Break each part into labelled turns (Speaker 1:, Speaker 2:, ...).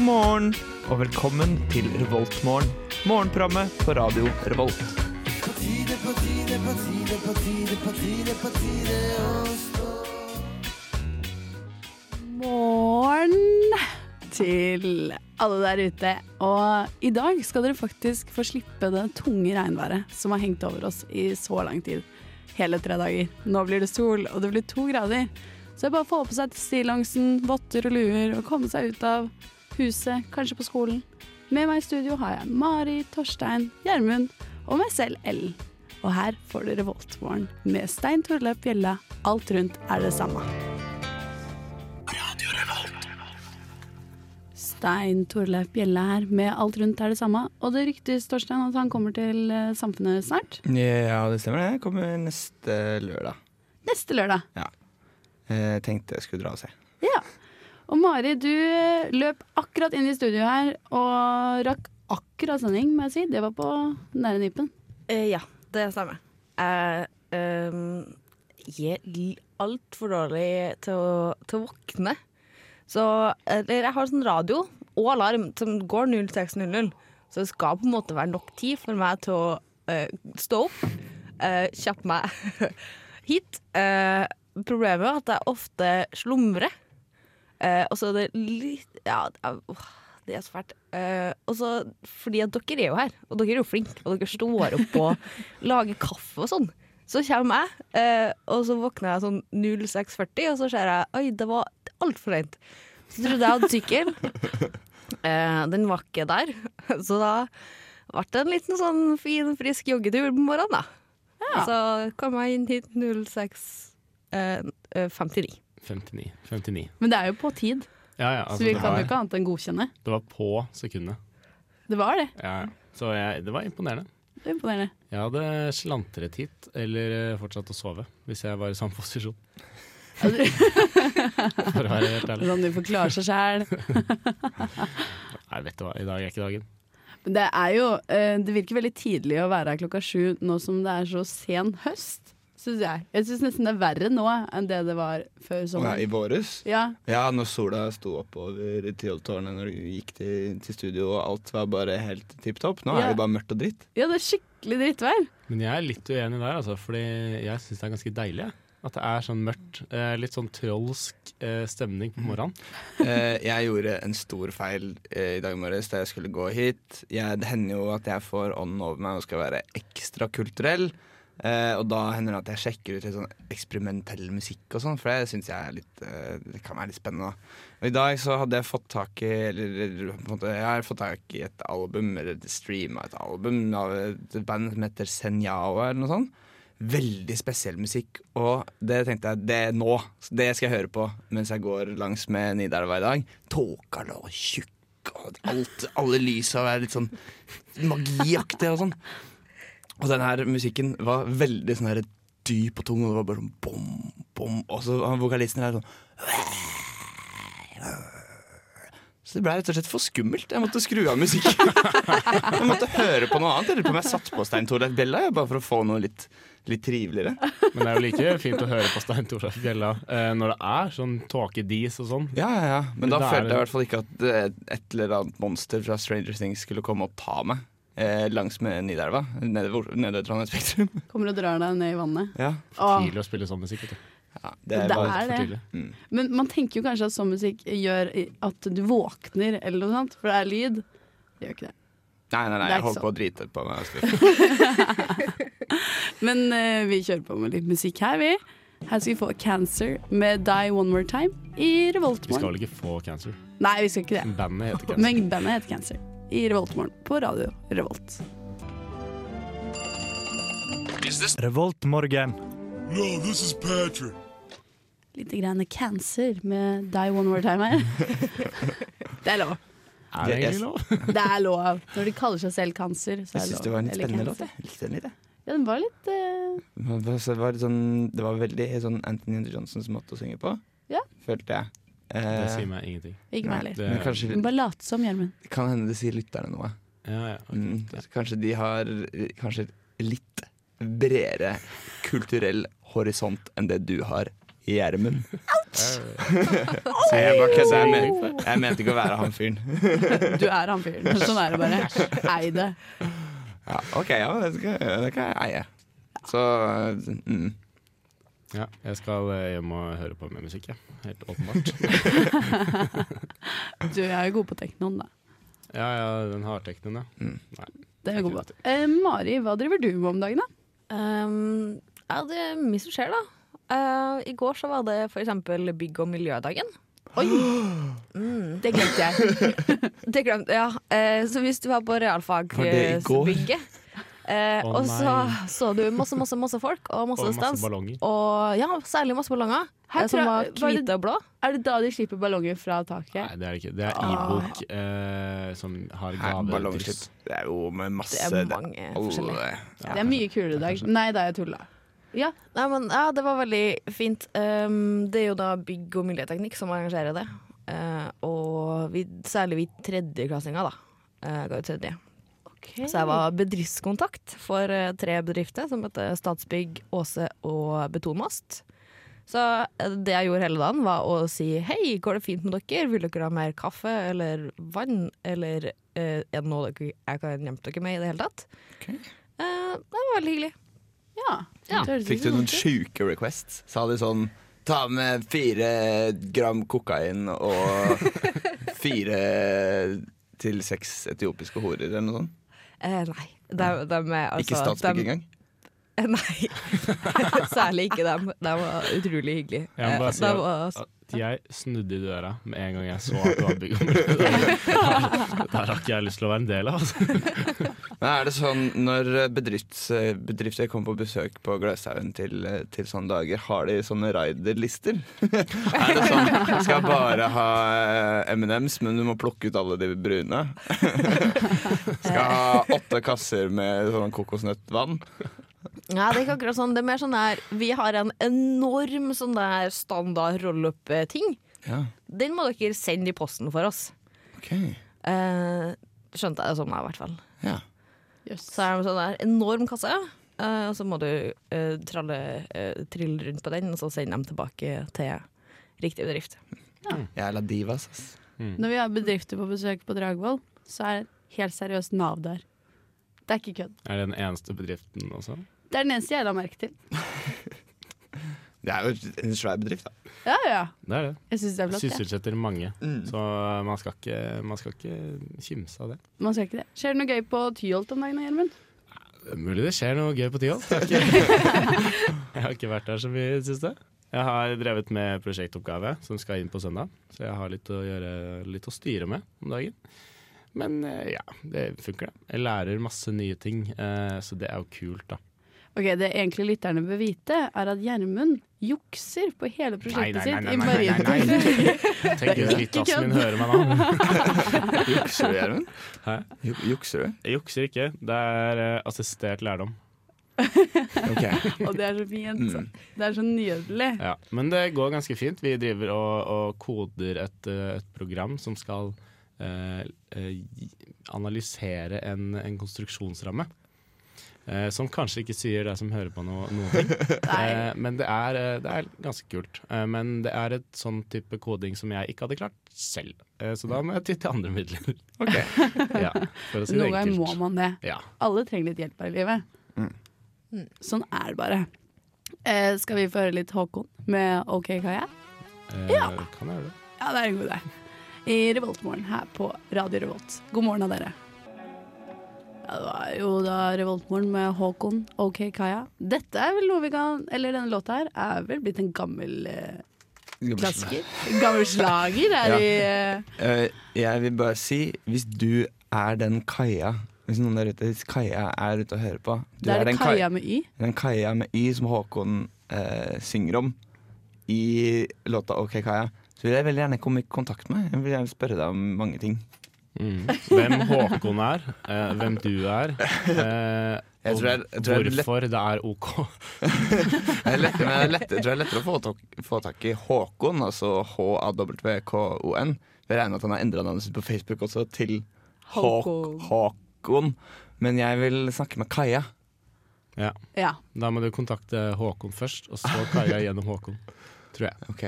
Speaker 1: morgen og velkommen til Revoltmorgen. Morgenprogrammet på radio Revolt.
Speaker 2: morgen til alle der ute. Og i dag skal dere faktisk få slippe det tunge regnværet som har hengt over oss i så lang tid. Hele tre dager. Nå blir det sol, og det blir to grader. Så det er bare å få på seg stillongsen, votter og luer og komme seg ut av huset, kanskje på skolen. Med meg i studio har jeg Mari, Torstein, Gjermund og meg selv, Ellen. Og her får dere Voltmorgen med Stein Torleif Bjella. Alt rundt er det samme. Stein Torleif Bjelle her, med alt rundt er det samme. Og det ryktes, Torstein, at han kommer til eh, Samfunnet snart.
Speaker 1: Ja, det stemmer det. Jeg kommer neste lørdag.
Speaker 2: Neste lørdag.
Speaker 1: Jeg tenkte jeg skulle dra og se.
Speaker 2: Ja. Og Mari, du eh, løp akkurat inn i studio her og rakk akkurat sending, må jeg si. Det var på nære nippen.
Speaker 3: Eh, ja, det stemmer. Jeg ehm, jeg er altfor dårlig til å, til å våkne. Så eller jeg har sånn radio og alarm som går 06.00, så det skal på en måte være nok tid for meg til å eh, stå opp, eh, kjappe meg hit. Eh, problemet er at jeg ofte slumrer. Eh, og så er det litt Ja, det er, åh, det er så fælt. Eh, og så fordi at dere er jo her, og dere er jo flinke, og dere står opp og lager kaffe og sånn. Så kommer jeg, eh, og så våkner jeg sånn 06.40, og så ser jeg Oi, det var altfor seint. Så trodde jeg hadde sykkel. Eh, den var ikke der. Så da ble det en liten sånn fin, frisk joggetur på morgenen, da. Så kom jeg inn hit eh, 06.59.
Speaker 4: 59. 59.
Speaker 2: Men det er jo på tid,
Speaker 4: Ja, ja,
Speaker 2: så
Speaker 4: altså,
Speaker 2: vi
Speaker 4: det,
Speaker 2: kan jo
Speaker 4: var,
Speaker 2: ikke annet enn godkjenne.
Speaker 4: det var på sekundet.
Speaker 2: Det var det.
Speaker 4: Ja, ja. så jeg, det var imponerende.
Speaker 2: Det er imponerende.
Speaker 4: Jeg hadde slantret hit, eller eh, fortsatt å sove, hvis jeg var i samme posisjon.
Speaker 2: Ja, du-
Speaker 4: For å være helt ærlig.
Speaker 2: Sånn du forklarer seg sjæl.
Speaker 4: Nei, vet du hva, i dag er ikke dagen.
Speaker 2: Men Det er jo eh, Det virker veldig tidlig å være her klokka sju nå som det er så sen høst, syns jeg. Jeg syns nesten det er verre nå enn det det var før sommeren.
Speaker 1: I våres?
Speaker 2: Ja,
Speaker 1: Ja, når sola sto oppover Tyholttårnet når du gikk til, til studio og alt var bare helt tipp topp. Nå
Speaker 2: Ja.
Speaker 1: er det bare mørkt og dritt.
Speaker 2: ja, det er skikkelig drittvær.
Speaker 4: Men jeg er litt uenig der, altså, fordi jeg syns det er ganske deilig. jeg. At det er sånn mørkt, eh, litt sånn trolsk eh, stemning på morgenen.
Speaker 1: Eh, jeg gjorde en stor feil eh, i dag morges da jeg skulle gå hit. Jeg, det hender jo at jeg får ånden over meg og skal være ekstra kulturell. Eh, og da hender det at jeg sjekker ut litt sånn eksperimentell musikk og sånn, for det syns jeg er litt, eh, det kan være litt spennende. da. Og i dag så hadde jeg fått tak i Eller eller på en måte, jeg har fått tak i et album, eller streama et album, av et band som heter Senyawa eller noe sånt. Veldig spesiell musikk, og det tenkte jeg det er nå. Det skal jeg høre på mens jeg går langs med Nidelva i dag. Tåka lå tjukk, og alt, alle lysa var litt sånn magiaktig og sånn. Og den her musikken var veldig sånn her dyp og tung, og det var bare sånn bom, bom. Og så han vokalisten her sånn Så det ble rett og slett for skummelt. Jeg måtte skru av musikken. Jeg måtte høre på noe annet. Jeg lurer på om jeg satte på Stein Torleif Bella, jeg, bare for å få noe litt, litt triveligere.
Speaker 4: Men det er jo like fint å høre på Stein Torleif Bjella eh, når det er sånn tåkedis og sånn.
Speaker 1: Ja, ja, ja. Men da
Speaker 4: Det er
Speaker 1: følte jeg i
Speaker 4: vel-
Speaker 1: hvert fall ikke at eh, et eller annet monster fra Stranger Things skulle komme og ta meg eh, langs med Nidelva, nede hvor- nede ved Trondheim Spektrum.
Speaker 2: Kommer og drar deg ned i vannet.
Speaker 1: Ja,
Speaker 2: Åh,
Speaker 4: Tidlig å spille sånn musikk, vet du.
Speaker 1: ja
Speaker 2: det
Speaker 1: var- mm.
Speaker 2: er det.
Speaker 4: For tidlig.
Speaker 2: Men man tenker jo kanskje at sånn musikk gjør i- at du våkner eller noe sånt, for det er lyd. Det gjør ikke det.
Speaker 1: Nei, nei, nei,
Speaker 2: Det er
Speaker 1: jeg
Speaker 2: ikke sånn.
Speaker 1: holdt på å drite på meg. altså.
Speaker 2: Men eh, vi kjører på med litt musikk her, vi. Her skal vi få Cancer med Die One More Time i
Speaker 4: Vi skal
Speaker 2: Revoltmorgen.
Speaker 4: vel ikke få cancer.
Speaker 2: Nei, vi skal ikke det.
Speaker 4: Bandet heter cancer.
Speaker 2: Men bandet heter Cancer. I Revoltmorgen på radio Revolt.
Speaker 5: Revoltmorgen.
Speaker 2: Litt greiene Cancer med Die One More Time her. Det er lov.
Speaker 4: Er det
Speaker 1: Jeg-
Speaker 4: egentlig lov?
Speaker 2: Det er lov. Når de kaller seg selv Cancer,
Speaker 1: Jeg
Speaker 2: så er det lov.
Speaker 1: syns det var en
Speaker 2: Eller
Speaker 1: spennende låt.
Speaker 2: Cancer.
Speaker 1: jeg. Jeg likte den litt, jeg.
Speaker 2: Ja, den var litt eh,
Speaker 1: Men Det var- så det var, litt sånn, det var veldig sånn Anthony Johnsons måte å synge på,
Speaker 2: Ja.
Speaker 1: følte jeg.
Speaker 4: Det
Speaker 1: Eh,
Speaker 4: sier meg ingenting.
Speaker 2: Ikke meg heller.
Speaker 4: Det,
Speaker 1: men kanskje,
Speaker 2: Men Bare late som, Gjermund.
Speaker 1: det kan hende det sier lytterne noe.
Speaker 4: ja, ja, ok.
Speaker 1: Mm, kanskje de har eh, kanskje litt bredere kulturell horisont enn det du har, Gjermund. Så jeg bare kødda. Jeg, men, jeg mente ikke å være han fyren.
Speaker 2: Du er han fyren. Sånn er det bare. Ei det.
Speaker 1: Ja, OK, ja, det skal, det kan jeg eie. Så mm.
Speaker 4: Ja, jeg skal eh, hjem og høre på mer musikk, jeg. Helt åpenbart.
Speaker 2: Du jeg er jo god på teknoen, da.
Speaker 4: Ja, ja, den hardteknen, ja.
Speaker 1: Mm.
Speaker 4: Nei.
Speaker 2: Det er jeg god på. Eh, Mari, hva driver du med om dagen, da?
Speaker 3: Um, ja, det er mye som skjer, da. Eh, I går så var det for eksempel bygg- og miljødagen. Mm, det glemte jeg. det glemte, ja. Eh, så hvis du var på
Speaker 1: Var det i går?
Speaker 3: realfagsbygget, eh,
Speaker 4: Å,
Speaker 3: og så
Speaker 4: nei.
Speaker 3: så du masse, masse, masse folk og masse
Speaker 4: Og masse
Speaker 3: stands.
Speaker 4: ballonger.
Speaker 3: Og ja, særlig masse ballonger.
Speaker 2: Her
Speaker 3: eh, som
Speaker 2: tror
Speaker 3: var
Speaker 2: jeg- var det-
Speaker 3: hvite og blå.
Speaker 2: Er det da de slipper ballonger fra
Speaker 4: Nei,
Speaker 2: taket?
Speaker 4: det er det ikke. Det er e-bok eh, som har
Speaker 1: Nei,
Speaker 4: gavedryss.
Speaker 1: Ballongslipp. Det er jo med
Speaker 3: Det
Speaker 1: masse
Speaker 3: er mange forskjellige.
Speaker 1: alle-
Speaker 2: Det er mye kulere i dag. Nei da, jeg tulla.
Speaker 3: Ja, nei, men, ja, det var veldig fint. Um, det er jo da bygg- og miljøteknikk som arrangerer det. Eh, og vi, særlig vi tredjeklassinger, da. Eh, ga ut tredje. Så jeg var bedriftskontakt for eh, tre bedrifter som heter Statsbygg, Åse og Betonmast. Så eh, det jeg gjorde hele dagen, var å si hei, går det fint med dere? Vil dere ha mer kaffe eller vann? Eller eh, er det noe dere, jeg kan hjelpe dere med i det hele tatt?
Speaker 1: Ok.
Speaker 3: Eh, det var veldig hyggelig.
Speaker 2: Ja.
Speaker 3: Ja.
Speaker 2: Det høres
Speaker 1: Fikk
Speaker 2: ut
Speaker 1: du
Speaker 2: som
Speaker 1: noen
Speaker 2: noe.
Speaker 1: sjuke requests? Sa de sånn Ta med fire gram kokain og fire til seks etiopiske horer, eller noe sånt?
Speaker 3: Eh, nei. De, de er altså
Speaker 1: Ikke statsbygg
Speaker 3: de-
Speaker 1: engang?
Speaker 3: Nei, særlig ikke dem. De var utrolig hyggelige.
Speaker 4: Jeg må bare si
Speaker 3: De
Speaker 4: at-
Speaker 3: var,
Speaker 4: At jeg snudde i døra med en gang jeg så at det var bygg- og miljødagen. Der- Der har ikke jeg lyst til å være en del av. Altså.
Speaker 1: Men er det sånn når bedrifts, bedrifter kommer på besøk på Gløshaugen til, til sånne dager, har de sånne raiderlister? er det sånn skal bare ha eh, M&M's, men du må plukke ut alle de brune? skal ha åtte kasser med sånn kokosnøttvann?
Speaker 3: Nei, det er ikke akkurat sånn. Det er mer sånn der Vi har en enorm sånn der standard roll-up-ting.
Speaker 1: Ja,
Speaker 3: Den må dere sende i posten for oss.
Speaker 1: ok.
Speaker 3: Eh, skjønte jeg det som, da, i hvert fall.
Speaker 1: Ja.
Speaker 2: Jøss.
Speaker 3: Så er det en sånn der enorm kasse, eh, og så må du eh, tralle, eh, trille rundt på den, og så sende dem tilbake til riktig bedrift.
Speaker 1: Jævla divas, ass.
Speaker 2: Når vi har bedrifter på besøk på Dragvoll, så er helt seriøst Nav der. Det er ikke kødd.
Speaker 4: Er det den eneste bedriften også?
Speaker 2: Det er den eneste jeg la merke til.
Speaker 1: Det er jo en svær bedrift, da.
Speaker 2: Ja, ja.
Speaker 4: Det er det.
Speaker 2: Jeg syns det er flott. jeg.
Speaker 4: Sysselsetter mange.
Speaker 1: Mm.
Speaker 4: Så eh, man skal ikke, man skal ikke kimse av det.
Speaker 2: Man skal ikke det. Skjer det noe gøy på Tyholt om dagen, Gjermund?
Speaker 4: Det er Mulig det skjer noe gøy på Tyholt. Jeg har ikke- jeg har ikke vært der så mye i det siste. Jeg har drevet med prosjektoppgave som skal inn på søndag, så jeg har litt å, gjøre, litt å styre med om dagen. Men eh, ja, det funker, det. Jeg lærer masse nye ting, eh, så det er jo kult, da.
Speaker 2: Ok, Det egentlig lytterne bør vite, er at Gjermund jukser på hele prosjektet sitt i Marienborg.
Speaker 4: Tenk hvis
Speaker 2: Ikke
Speaker 4: Litassen min
Speaker 2: kødd.
Speaker 4: hører meg nå.
Speaker 1: Jukser du, Gjermund?
Speaker 4: Hæ?
Speaker 1: Ju- Jukser du?
Speaker 4: Jeg jukser ikke. Det er eh, assistert lærdom.
Speaker 1: Ok.
Speaker 2: Og det er så fint.
Speaker 1: Mm.
Speaker 2: Det er så nydelig.
Speaker 4: Ja, men det går ganske fint. Vi driver og, og koder et, eh, et program som skal eh, eh, gi- analysere en, en konstruksjonsramme. Eh, som kanskje ikke sier det som hører på noe, noen ting. Eh, men det er, eh, det er ganske kult. Eh, men det er et sånn type koding som jeg ikke hadde klart selv. Eh, så da må jeg ty til andre midler.
Speaker 1: Ok.
Speaker 4: ja, for å si det
Speaker 2: Noen ganger må
Speaker 4: enkelt.
Speaker 2: man det.
Speaker 4: Ja.
Speaker 2: Alle trenger litt hjelp her i livet.
Speaker 1: Mm.
Speaker 2: Sånn er det bare. Eh, skal vi få høre litt Håkon med OK Kaja?
Speaker 4: Eh, Kan jeg gjøre det?
Speaker 2: Ja, det er en god idé. I Revoltmorgen her på Radio Revolt. God morgen av dere. Ja, det var jo da Revoltmorgen med Håkon, OK Kaja. Dette er vel noe vi kan Eller denne låta her er vel blitt en gammel eh, klassiker? Gammel slager er
Speaker 1: Ja.
Speaker 2: vi eh,
Speaker 1: Eh, jeg vil bare si, hvis du er den kaia Hvis noen der ute, hvis kaia er ute og hører på Du
Speaker 2: Det er det
Speaker 1: den, kaia,
Speaker 2: Kaja med Y.
Speaker 1: den kaia med Y som Håkon eh, synger om i låta OK Kaia. Så vil jeg veldig gjerne komme i kontakt med. Jeg vil gjerne spørre deg om mange ting.
Speaker 4: Mm. Hvem Håkon er, eh, hvem du er, eh,
Speaker 1: Jeg
Speaker 4: og
Speaker 1: tror jeg- jeg tror jeg lett-
Speaker 4: hvorfor det er OK.
Speaker 1: Det er lettere, men det er lettere, jeg tror det er lettere å få tak, få tak i Håkon, altså H-A-W-K-O-N. Jeg regner med at han har endra navnet sitt på Facebook også til Håk-
Speaker 2: Håkon.
Speaker 1: Håkon. Men jeg vil snakke med Kaia.
Speaker 4: Ja.
Speaker 2: Ja.
Speaker 4: Da må du kontakte Håkon først, og så Kaja gjennom Håkon. Tror jeg.
Speaker 1: Ok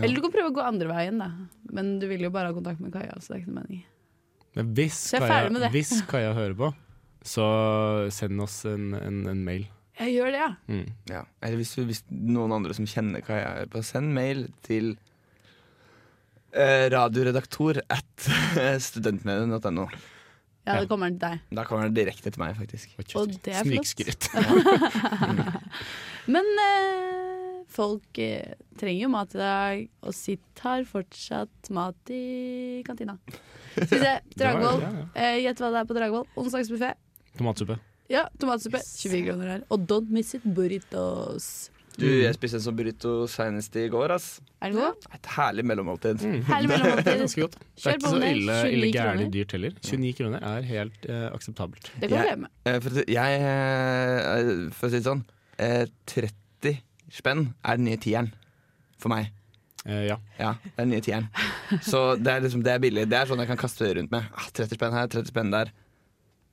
Speaker 2: Eller du kan prøve å gå andre veien, da. Men du vil jo bare ha kontakt med Kaja. Så det er ikke noe mening.
Speaker 4: Men hvis
Speaker 2: Så jeg er ferdig med
Speaker 4: Kaja,
Speaker 2: det.
Speaker 4: hvis Kaja hører på, så send oss en, en, en mail.
Speaker 2: Jeg gjør det, ja.
Speaker 4: Mm.
Speaker 1: Ja. Eller hvis, du- hvis noen andre som kjenner Kaja, hører på, send mail til eh, radioredaktor at studentmediene.no.
Speaker 2: Ja,
Speaker 4: Ja.
Speaker 2: det kommer til deg.
Speaker 1: Da kommer det direkte til meg, faktisk.
Speaker 4: Og kjøtt.
Speaker 2: Og det er flott.
Speaker 4: Snikskryt.
Speaker 2: Men eh, folk eh, trenger jo mat i dag, og sitt har fortsatt mat i kantina. Skal vi se.
Speaker 4: Det var-
Speaker 2: Dragvoll.
Speaker 4: ja, ja.
Speaker 2: Eh, Gjett hva det er på Dragvoll. Onsdagsbuffé.
Speaker 4: Tomatsuppe.
Speaker 2: Ja, tomatsuppe. 24 kroner her. Og don't miss it, burritos.
Speaker 1: Du, jeg spiste en sånn burrito senest i går, ass.
Speaker 2: Er den god?
Speaker 1: Et herlig mellommåltid.
Speaker 2: Herlig
Speaker 4: Det er
Speaker 2: mellommåltid.
Speaker 4: ganske godt. Det
Speaker 2: Kjør
Speaker 4: er ikke
Speaker 2: på
Speaker 4: så
Speaker 2: med
Speaker 4: ille,
Speaker 2: 29
Speaker 4: ille gærne
Speaker 2: kroner.
Speaker 4: dyrt heller. 29 kroner er helt eh, akseptabelt.
Speaker 2: Det kan du
Speaker 1: Jeg-
Speaker 2: leve med.
Speaker 1: Eh, For, å si- jeg, eh, for å si det sånn, eh, 30 spenn er den nye tieren for meg.
Speaker 4: Eh, ja.
Speaker 1: Ja, det er den nye tieren. Så det er, liksom, det er billig. Det er sånn jeg kan kaste det rundt med. Ah, 30 spenn her, 30 spenn der.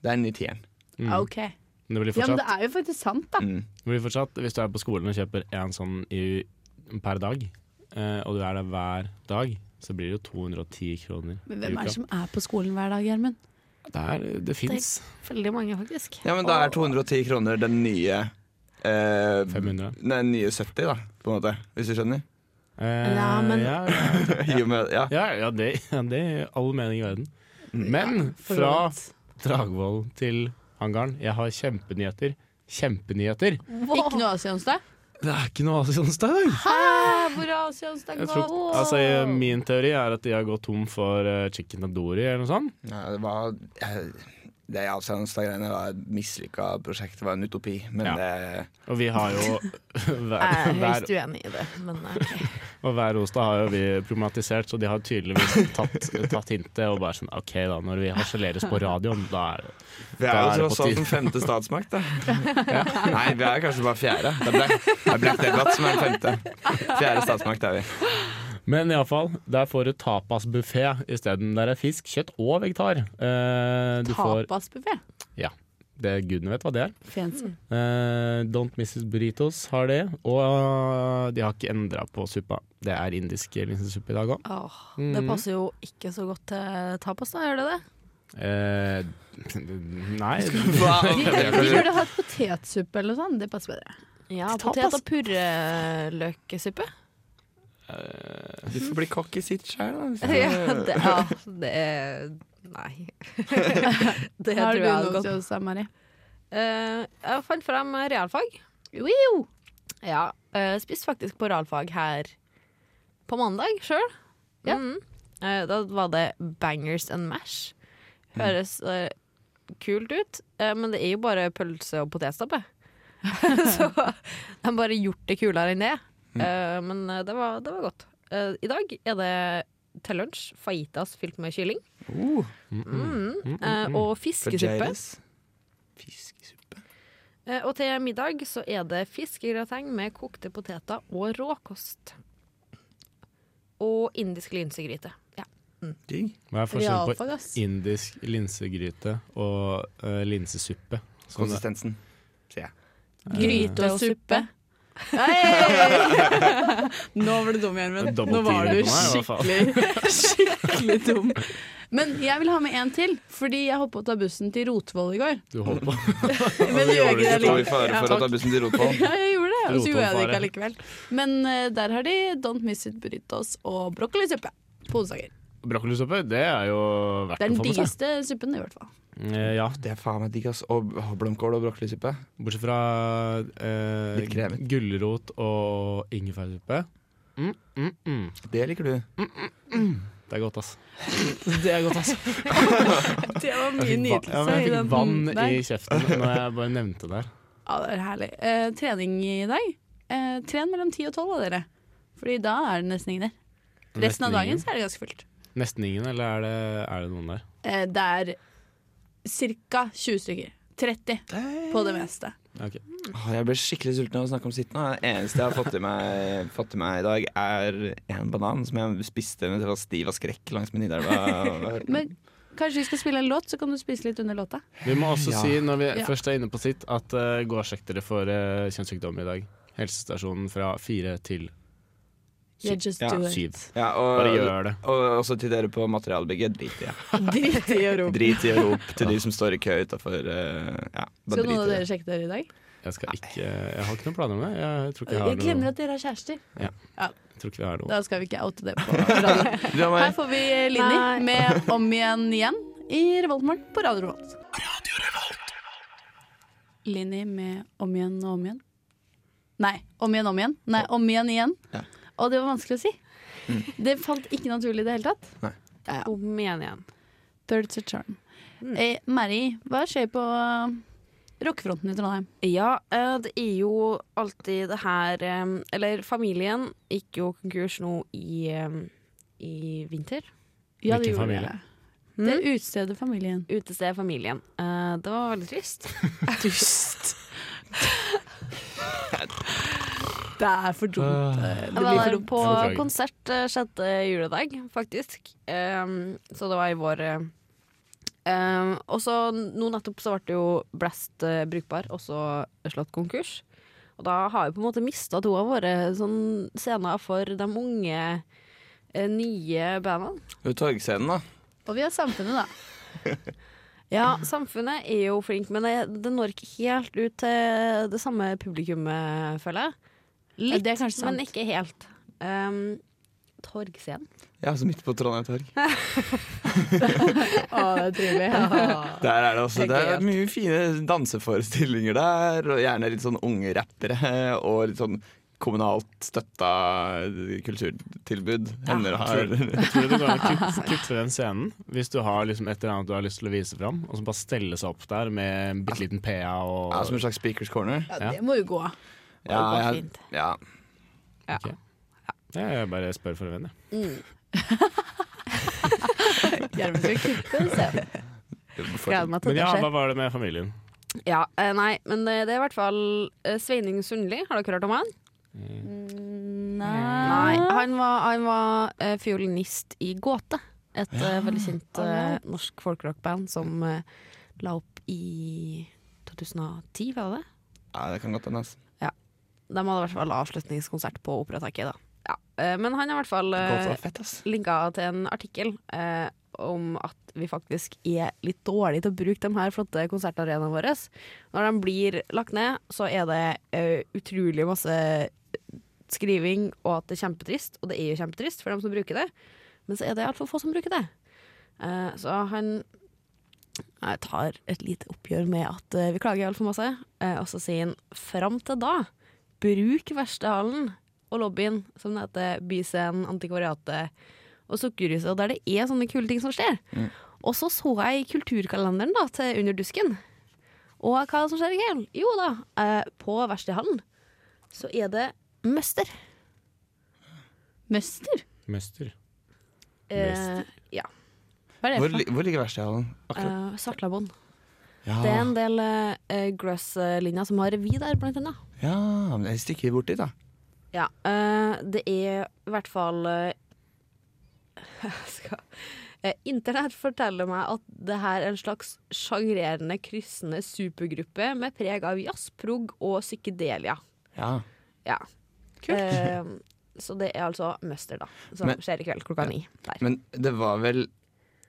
Speaker 1: Det er den nye tieren.
Speaker 4: Mm.
Speaker 2: Ah, Ok.
Speaker 4: Men det
Speaker 2: Ja,
Speaker 4: blir
Speaker 2: men
Speaker 4: fortsatt,
Speaker 2: det er jo faktisk sant, da.
Speaker 1: Mm.
Speaker 4: det blir fortsatt Hvis du er på skolen og kjøper en sånn i, per dag, eh, og du er der hver dag, så blir det jo 210 kroner
Speaker 2: Men
Speaker 4: i
Speaker 2: hvem er
Speaker 4: uka.
Speaker 2: det som er på skolen hver dag, Gjermund?
Speaker 4: Det, er- det fins.
Speaker 6: Veldig mange, faktisk.
Speaker 1: Ja, men da er 210 kroner den nye eh,
Speaker 4: 500.
Speaker 1: Nei, den nye 70, da, på en måte. Hvis du skjønner?
Speaker 4: Eh,
Speaker 6: Ja, men-
Speaker 4: ja, ja,
Speaker 1: I og med, ja.
Speaker 4: ja, ja, det ja, det gir all mening i verden. Men fra Dragvoll til hangaren, jeg har kjempenyheter. Kjempenyheter!
Speaker 2: Ikke noe Asionsdag?
Speaker 4: Det er ikke noe Asionsdag i dag!
Speaker 2: Hæ, hvor er Asionsdag
Speaker 4: Jeg
Speaker 2: nå?
Speaker 4: tror, altså, jeg- min teori er at de har gått tom for eh, chicken tandoori eller noe sånt.
Speaker 1: ja det var eh, Det Alzheimer-greiene var et mislykka prosjekt. Det var en utopi. Men
Speaker 4: Ja.
Speaker 1: det
Speaker 4: Og vi har jo hver,
Speaker 6: Jeg er
Speaker 4: hver,
Speaker 6: høyst uenig i det, men eh,
Speaker 4: og hver onsdag har jo vi problematisert, så de har tydeligvis tatt, tatt hintet og bare sånn OK, da, når vi harseleres på radioen, da er det
Speaker 1: Vi er
Speaker 4: Da
Speaker 1: jo
Speaker 4: er det
Speaker 1: tross
Speaker 4: på
Speaker 1: alt
Speaker 4: tide.
Speaker 1: den femte statsmakt, da. Nei, vi er kanskje bare fjerde. Det er Black, det er Black Debate som er den femte. Fjerde statsmakt er vi.
Speaker 4: Men iallfall, der får du tapasbuffé isteden. Der er fisk, kjøtt og vegetar. Eh, du får
Speaker 2: Tapasbuffé.
Speaker 4: det, Gudene vet hva det er.
Speaker 2: Fancy.
Speaker 4: Eh, Don't Mrs. Burritos har det. Og eh, de har ikke endra på suppa. Det er indisk linsesuppe i dag òg.
Speaker 6: åh, det
Speaker 4: Mm.
Speaker 6: passer jo ikke så godt til tapas, da. Gjør det det?
Speaker 4: Eh, nei
Speaker 2: Vi burde hatt potetsuppe eller noe sånt. Det passer bedre.
Speaker 6: Ja,
Speaker 4: Tapas?
Speaker 6: Potet- og purreløksuppe.
Speaker 1: Du får bli kokk i sitt sjøl, da.
Speaker 6: Ja, det, ja, det er Nei. det
Speaker 2: Har
Speaker 6: tror
Speaker 2: du
Speaker 6: jeg hadde
Speaker 2: noe
Speaker 6: gått.
Speaker 2: til oss, da, Mari?
Speaker 6: Eh, jeg fant frem eh, realfag. Ja, eh, spiste faktisk på realfag her på mandag sjøl.
Speaker 2: Ja.
Speaker 6: Mm. Eh, da var det bangers and mash. Høres eh, kult ut, eh, men det er jo bare pølse og potetstappe. Så de har bare gjort det kulere enn det. Eh, men eh, det var, det var godt. Eh, I dag er det til lunsj fajitas fylt med kylling. Uh. Mm. Eh, og fiskesuppe.
Speaker 1: Fajitas. Fiskesuppe.
Speaker 6: Eh, Og til middag så er det fiskegrateng med kokte poteter og råkost. Og indisk linsegryte. Ja.
Speaker 1: Digg.
Speaker 4: Hva er forskjellen på
Speaker 2: Realfag, ass.
Speaker 4: indisk linsegryte og eh, linsesuppe? Sånn det-
Speaker 1: Konsistensen, sier jeg.
Speaker 2: Gryte og suppe. Nå var du dum, Gjermund.
Speaker 4: Double
Speaker 2: Nå var du
Speaker 4: teaming på meg, i hvert fall.
Speaker 2: skikkelig, skikkelig dum. Men jeg vil ha med en til, fordi jeg hoppet å ta bussen til Rotvoll i går.
Speaker 4: du holder på.
Speaker 2: Men det gjør ikke det
Speaker 1: Står i
Speaker 2: likevel.
Speaker 1: fare for å ta bussen til Rotvoll.
Speaker 2: Ja, jeg gjorde det, og så gjorde jeg det ikke
Speaker 4: Rotvollfare.
Speaker 2: allikevel. Men eh, der har de Don't Miss It Burritos og brokkolisuppe på onsdager.
Speaker 4: Brokkolisuppe, det er jo verdt
Speaker 2: Det er
Speaker 4: å
Speaker 2: den
Speaker 4: få med seg.
Speaker 2: diggeste suppen, i hvert fall.
Speaker 4: Eh, ja,
Speaker 1: Det er faen meg digg, ass. Og og blomkål og brokkolisuppe.
Speaker 4: bortsett fra eh,
Speaker 1: Litt kremet.
Speaker 4: gulrot og ingefærsuppe. Mm, mm, mm.
Speaker 1: Det liker du.
Speaker 4: Det er godt, ass. Det er godt, ass.
Speaker 2: Det var
Speaker 4: Jeg
Speaker 2: mye
Speaker 4: fikk, va- ja,
Speaker 2: nytelse
Speaker 4: men jeg
Speaker 2: i
Speaker 4: fikk
Speaker 2: den
Speaker 4: vann
Speaker 2: der.
Speaker 4: i kjeften når jeg bare nevnte det. her.
Speaker 2: Ja, det er herlig. Eh, trening i dag. Eh, tren mellom 10 og 12 av dere. Fordi da er det nesten ingen der. Resten av
Speaker 4: Nesten
Speaker 2: dagen
Speaker 4: ingen.
Speaker 2: så er det ganske fullt.
Speaker 4: Nesten ingen, eller er det, er det noen der?
Speaker 2: Eh, det er ca. 20 stykker. 30 på det meste.
Speaker 4: Ok.
Speaker 1: Åh, Jeg ble skikkelig sulten av å snakke om sitt nå. Det eneste jeg har fått i meg, fått i meg i dag, er en banan som jeg spiste mens jeg var stiv av skrekk langs med Nidelva.
Speaker 2: Men kanskje vi skal spille en låt, så kan du spise litt under låta.
Speaker 4: Vi må også
Speaker 1: Ja.
Speaker 4: si, når vi
Speaker 2: Ja.
Speaker 4: først er inne på sitt, at uh, eh, gå og sjekk dere for uh, kjønnssykdommer i dag. Helsestasjonen fra fire til
Speaker 2: Yeah, just
Speaker 1: Ja,
Speaker 2: do it.
Speaker 4: Syv.
Speaker 1: Ja, og,
Speaker 4: Bare gjør det.
Speaker 1: Og også til dere på materialbygget. Drit i det.
Speaker 2: Drit i å rope.
Speaker 1: Drit i å rope til de som står i kø utafor. Ja, bare
Speaker 2: Skal
Speaker 1: drit
Speaker 2: noen av
Speaker 1: i
Speaker 2: dere
Speaker 1: det.
Speaker 2: sjekke dere i dag?
Speaker 4: Jeg, skal ikke, jeg har ikke noen planer om det. Jeg tror ikke,
Speaker 2: Jeg
Speaker 4: jeg har
Speaker 2: glemmer
Speaker 4: noe,
Speaker 2: at dere har kjærester.
Speaker 4: jeg tror ikke vi har noe.
Speaker 2: Da skal vi ikke oute det på radioen.
Speaker 1: Du, Amalie?
Speaker 2: Her får vi
Speaker 6: eh,
Speaker 2: Linni med Om igjen igjen i Revoltmorgen på Radio Revolt. Linni med Om igjen og om igjen. Nei, Om igjen, om igjen. Nei, Om igjen igjen.
Speaker 1: Ja.
Speaker 2: Og det var vanskelig å si. Det falt ikke naturlig i det hele tatt.
Speaker 3: Om igjen igjen.
Speaker 2: Thirds a charm. Eh, Mary, hva skjer på rockefronten i Trondheim?
Speaker 3: Ja, eh, det er jo alltid det her eh, Eller familien gikk jo konkurs nå i, eh, i vinter.
Speaker 2: Ja, det
Speaker 4: Hvilken
Speaker 2: gjorde
Speaker 4: familie?
Speaker 2: det. Det er utestedet Familien.
Speaker 3: Utestedet Familien. Eh, det var veldig trist.
Speaker 2: Dust. Det er for dumt. eh, Det
Speaker 3: Jeg
Speaker 2: blir
Speaker 3: var
Speaker 2: for
Speaker 3: der
Speaker 2: dumt.
Speaker 3: på
Speaker 4: Beklager.
Speaker 3: konsert eh, sjette juledag, faktisk. Ehm, så det var i vår. eh. Ehm, og så nå nettopp så ble det jo Blast eh, brukbar, også slått konkurs. Og da har vi på en måte mista to av våre sånn, scener for de unge, eh, nye bandene.
Speaker 1: Jo, Torgscenen, da.
Speaker 2: Og vi har Samfunnet, da.
Speaker 3: Ja, samfunnet er jo flink, men det, det når ikke helt ut til det samme publikummet, føler jeg.
Speaker 2: Ja,
Speaker 3: Litt,
Speaker 2: det er kanskje sant.
Speaker 3: men ikke helt. Um, Torgscenen.
Speaker 1: Ja, så altså midt på Trondheim torg.
Speaker 2: Å, det er trivelig.
Speaker 1: Der er det også
Speaker 3: Det
Speaker 1: det
Speaker 3: er
Speaker 1: er mye fine danseforestillinger der, og gjerne litt sånn unge rappere og litt sånn kommunalt støtta kulturtilbud. Hender og
Speaker 4: Tror,
Speaker 1: har
Speaker 4: tror du det går an å kutte, kutte den scenen hvis du har liksom et eller annet du har lyst til å vise fram, og så bare stelle seg opp der med en bitte liten PA og
Speaker 1: ja, Som en slags speakers corner.
Speaker 2: Ja, det må jo gå.
Speaker 1: Ja,
Speaker 3: går
Speaker 1: jeg-
Speaker 3: fint.
Speaker 1: ja.
Speaker 4: Ja, Jeg bare spør for en venn, jeg.
Speaker 2: Mm. Gjermund skal kutte en scene.
Speaker 3: Gleder meg til
Speaker 4: Men
Speaker 3: det
Speaker 4: ja,
Speaker 3: skjer.
Speaker 4: hva var det med familien?
Speaker 3: Ja, eh, nei, men det, det er i hvert fall eh, Sveining Sundli. Har dere hørt om han? Nei.
Speaker 2: Nei.
Speaker 3: Han var, han var eh, fiolinist i Gåte. Et eh, veldig kjent eh, norsk folkrockband som eh, la opp i 2010, var det det?
Speaker 1: ja, det kan godt hende. altså. ass.
Speaker 3: De hadde i hvert fall avslutningskonsert på Operataket, da. Ja. eh, Men han er i hvert fall eh,
Speaker 1: Godt og fett, altså. ass.
Speaker 3: linka til en artikkel eh, om at vi faktisk er litt dårlige til å bruke de her flotte konsertarenaene våre. Når de blir lagt ned, så er det eh, utrolig masse skriving, og at det er kjempetrist. Og det er jo kjempetrist for dem som bruker det, men så er det altfor få som bruker det. Eh, så han eh, tar et lite oppgjør med at eh, vi klager altfor masse, eh, og så sier han fram til da, bruk verkstedhallen og lobbyen, som det heter, Byscenen, Antikvariatet og Sukkerhuset, og der det er sånne kule ting som skjer. Og så så jeg kulturkalenderen da, til Under dusken. Og hva er det som skjer i kveld? Jo da, eh, på verkstedhallen så er det møster.
Speaker 2: Møster?
Speaker 4: Møster.
Speaker 3: Eh, ja.
Speaker 2: Hva er det
Speaker 1: Hvor,
Speaker 2: for noe?
Speaker 1: li- hvor ligger verkstedhallen?
Speaker 3: Eh, Svartlabon.
Speaker 1: Ja.
Speaker 3: Det er en del eh, Grøss-linja som har revy der, blant annet.
Speaker 1: ja, men jeg stikker bort dit, da.
Speaker 3: Ja, eh, det er i hvert fall eh, jeg skal, eh, Internett forteller meg at det her er en slags sjangrerende, kryssende supergruppe med preg av jazz, prog og psykedelia.
Speaker 1: Ja.
Speaker 3: Ja. Eh, så det er altså Møster, da, som
Speaker 1: Men-
Speaker 3: skjer i kveld klokka ni. Der.
Speaker 1: Men det var vel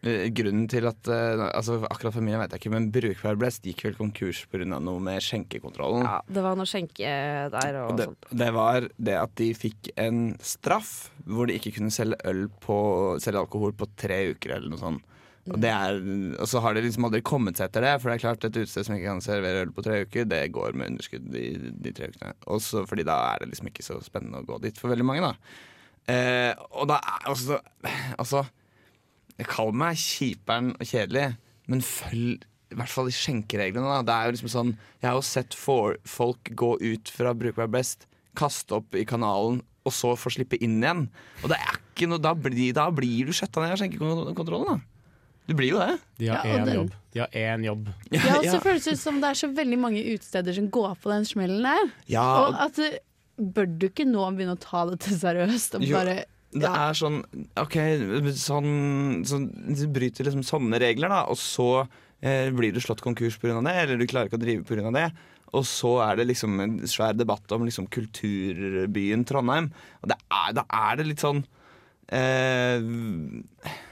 Speaker 1: eh, grunnen til at eh, altså Akkurat familien vet jeg ikke, men Brukbar Blest gikk vel konkurs pga. noe med skjenkekontrollen.
Speaker 3: Ja, det var noe skjenke eh, der og,
Speaker 1: Og det,
Speaker 3: sånt.
Speaker 1: det var det at de fikk en straff hvor de ikke kunne selge øl på Selge alkohol på tre uker eller noe sånt. Og, det er, og så har de liksom aldri kommet seg etter det, for det er klart et utested som ikke kan servere øl på tre uker, det går med underskudd de, de tre ukene. Også fordi da er det liksom ikke så spennende å gå dit for veldig mange, da. Eh, og da er altså Altså, kall meg kjiperen og kjedelig, men følg i hvert fall de skjenkereglene. Da. Det er jo liksom sånn Jeg har jo sett for, folk gå ut fra Brukbar Best, kaste opp i kanalen, og så få slippe inn igjen. Og det er ikke noe Da blir, da blir du skjøtta ned av skjenkekontrollen, da. Du blir jo det.
Speaker 4: De har
Speaker 2: Ja, og
Speaker 4: én
Speaker 2: den-
Speaker 4: jobb. De har én jobb.
Speaker 2: Ja, og så føles det ut som det er så veldig mange utesteder som går på den smellen der.
Speaker 1: Ja, og-
Speaker 2: Og at eh, Bør du ikke nå begynne å ta dette seriøst? Og
Speaker 1: Jo.
Speaker 2: bare
Speaker 1: Det er sånn OK, sånn, sånn Du bryter liksom sånne regler, da, og så eh, blir du slått konkurs pga. det, eller du klarer ikke å drive pga. det. Og så er det liksom en svær debatt om liksom kulturbyen Trondheim. Og det er, da er det litt sånn eh, Nei,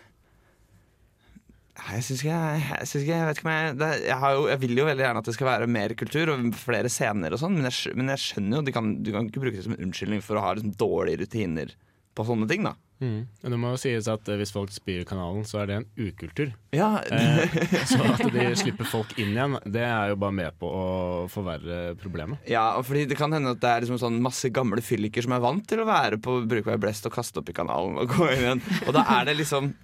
Speaker 1: jeg syns ikke jeg, jeg, synes ikke, jeg vet ikke om jeg det, er- jeg, har jo, jeg vil jo veldig gjerne at det skal være mer kultur og flere scener og sånn, men, jeg skj- men jeg skjønner jo de kan, Du kan ikke bruke det som en unnskyldning for å ha liksom dårlige rutiner på sånne ting, da.
Speaker 4: Mm. Men Det må jo sies at eh, hvis folk spyr i kanalen, så er det en ukultur.
Speaker 1: Ja,
Speaker 4: Eh, så at de slipper folk inn igjen, det er jo bare med på å forverre problemet.
Speaker 1: Ja, og fordi Det kan hende at det er liksom sånn masse gamle fylliker som er vant til å være på Bruk meg blest og kaste opp i kanalen og gå inn igjen. Og da er det liksom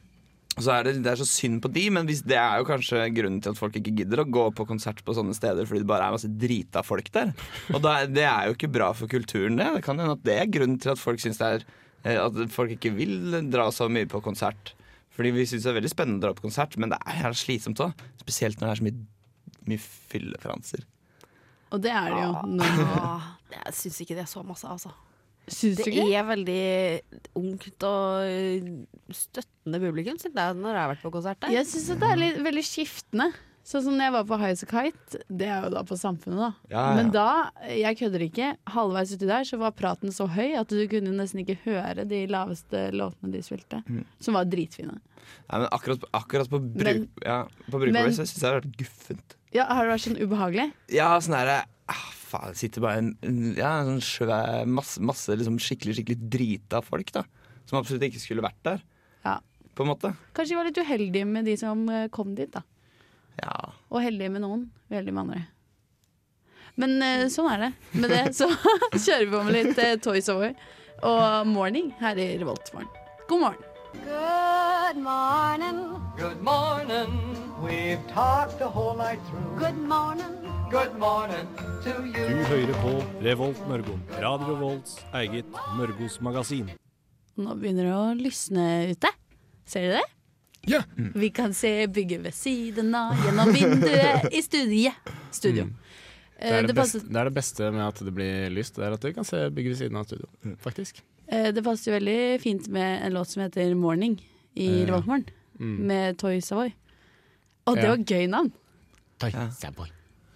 Speaker 1: så er det, det er så synd på de, men hvis, det er jo kanskje grunnen til at folk ikke gidder å gå på konsert på sånne steder fordi det bare er masse drita folk der. Og da, er- det er jo ikke bra for kulturen, det. Det kan hende at det er grunnen til at folk synes det er eh, At folk ikke vil dra så mye på konsert. Fordi vi syns det er veldig spennende å dra på konsert, men det er jævla slitsomt òg. Spesielt når det er så mye, mye fyllefranser.
Speaker 2: Og det er det jo. Nå.
Speaker 3: Åh, jeg syns ikke det er så masse, altså.
Speaker 2: Syns du
Speaker 3: Det
Speaker 2: ikke?
Speaker 3: er veldig ungt og eh, støttende publikum, syns jeg, når jeg har vært på konsert der.
Speaker 2: Jeg syns det er litt, veldig skiftende. Sånn som når jeg var på High as a Kite, det er jo da på Samfunnet, da.
Speaker 1: Ja, ja.
Speaker 2: Men da, jeg kødder ikke, halvveis uti der så var praten så høy at du kunne nesten ikke høre de laveste låtene de spilte,
Speaker 1: Mm.
Speaker 2: som var dritfine.
Speaker 1: Nei, men akkurat, på- akkurat på, bruk,
Speaker 2: Men-
Speaker 1: ja, på
Speaker 2: men-
Speaker 1: brukervis syns jeg det har vært guffent.
Speaker 2: Ja, Har det vært sånn ubehagelig?
Speaker 1: Ja, sånn derre ah, Faen, det sitter bare en, en- ja, en sånn svær masse, masse liksom skikkelig skikkelig drita folk, da. Som absolutt ikke skulle vært der,
Speaker 2: Ja.
Speaker 1: på en måte.
Speaker 2: Kanskje de var litt uheldige med de som eh, kom dit, da.
Speaker 1: Ja.
Speaker 2: Og heldige med noen, uheldige med andre. Men eh, sånn er det. Med det så kjører vi på med litt eh, Toys Over og Morning her i Revoltmorgen. God morgen.
Speaker 7: Good morning.
Speaker 8: Good morning. We've talked the whole night through.
Speaker 7: Good morning.
Speaker 8: Good morning to
Speaker 5: Du
Speaker 8: you.
Speaker 5: hører på Revolt Mørgo. Radio Volts eget Mørgos magasin.
Speaker 2: Nå begynner det å lysne ute. Ser dere det?
Speaker 4: Ja.
Speaker 2: Vi kan se bygget ved siden av, gjennom vinduet i studiet. Studio. Eh,
Speaker 4: Mm. Det er det,
Speaker 2: det, passet,
Speaker 4: beste, det er det beste med at det blir lyst, det er at du kan se bygget ved siden av studio, faktisk.
Speaker 2: eh, det passet jo veldig fint med en låt som heter 'Morning' i
Speaker 4: Eh, ja.
Speaker 2: Revoltmorgen,
Speaker 4: Mm.
Speaker 2: med Toy Savoy. Og det
Speaker 4: Ja.
Speaker 2: var gøy navn.
Speaker 1: Ja.